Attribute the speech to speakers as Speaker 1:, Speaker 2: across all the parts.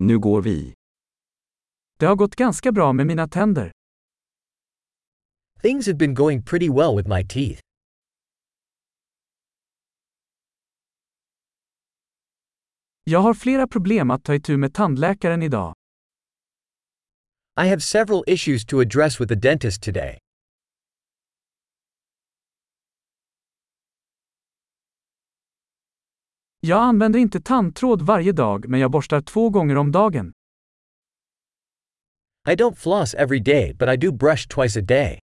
Speaker 1: Nu går vi.
Speaker 2: Det har gått ganska bra med mina tänder.
Speaker 3: Things have been going pretty well with my teeth.
Speaker 2: Jag har flera problem att ta itu med tandläkaren idag.
Speaker 3: I have several issues to address with the dentist today.
Speaker 2: Jag använder inte tandtråd varje dag men jag borstar två gånger om dagen.
Speaker 3: I don't floss every day, but I do brush twice a day.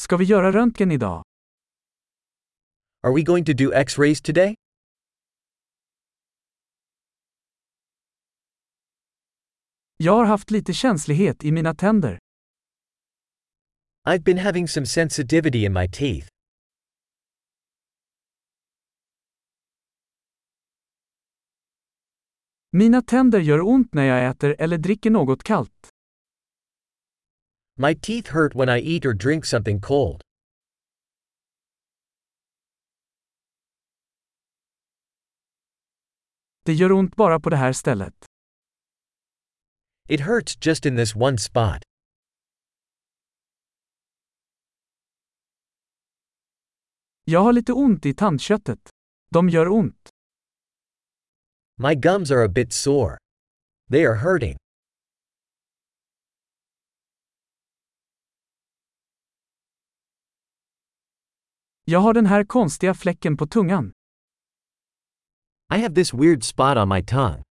Speaker 2: Ska vi göra röntgen idag?
Speaker 3: Are we going to do x rays today?
Speaker 2: Jag har haft lite känslighet i mina tänder.
Speaker 3: I've been having some sensitivity in my teeth.
Speaker 2: Mina tänder gör ont när jag äter eller dricker något kallt.
Speaker 3: My teeth hurt when I eat or drink something cold.
Speaker 2: Det gör ont bara på det här stället.
Speaker 3: It hurts just in this one spot.
Speaker 2: Jag har lite ont i tandköttet. De gör ont.
Speaker 3: My gums are a bit sore. They are hurting.
Speaker 2: Jag har den här konstiga fläcken på tungan.
Speaker 3: I have this weird spot on my tongue.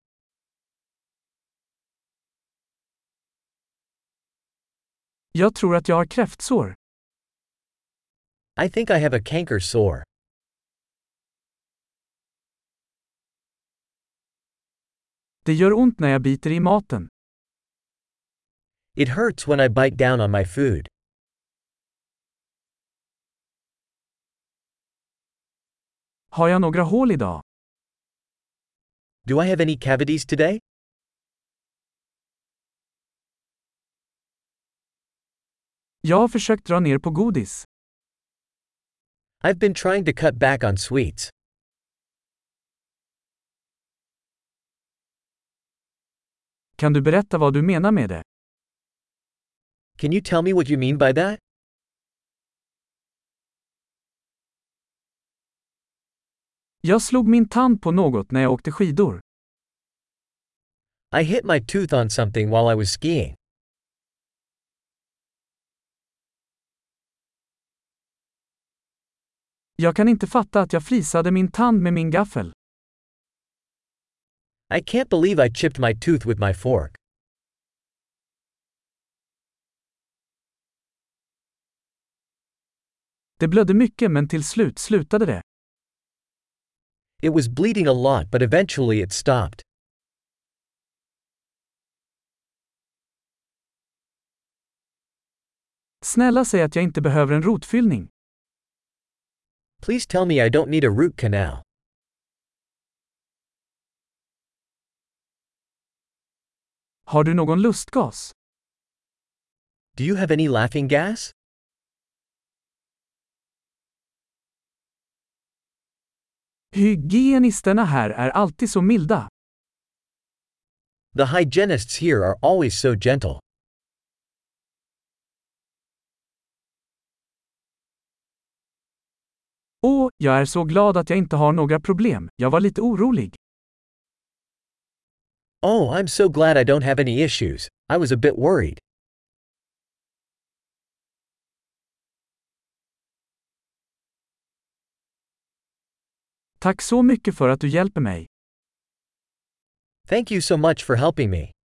Speaker 2: Jag tror att jag har kräftsår.
Speaker 3: I think I have a canker sore.
Speaker 2: Det gör ont när jag biter i maten.
Speaker 3: It hurts when I bite down on my food.
Speaker 2: Har jag några hål idag?
Speaker 3: Do I have any cavities today?
Speaker 2: Jag har försökt dra ner på godis.
Speaker 3: I've been trying to cut back on sweets.
Speaker 2: Kan du berätta vad du menar med det?
Speaker 3: Can you tell me what you mean by that?
Speaker 2: Jag slog min tand på något när jag åkte skidor.
Speaker 3: I hit my tooth on something while I was skiing.
Speaker 2: Jag kan inte fatta att jag flisade min tand med min gaffel.
Speaker 3: I can't believe I chipped my tooth with my fork.
Speaker 2: Det blödde mycket men till slut slutade det.
Speaker 3: It was bleeding a lot, but eventually it stopped.
Speaker 2: Snälla säg att jag inte behöver en rotfyllning.
Speaker 3: Please tell me I don't need a root canal.
Speaker 2: Har du någon lustgas?
Speaker 3: Do you have any laughing gas?
Speaker 2: Hygienisterna här är alltid så milda.
Speaker 3: The hygienists here are always so gentle.
Speaker 2: Åh, jag är så glad att jag inte har några problem. Jag var lite orolig.
Speaker 3: Oh, I'm so glad I don't have any issues. I was a bit worried.
Speaker 2: Tack så mycket för att du hjälper mig.
Speaker 3: Thank you so much for helping me.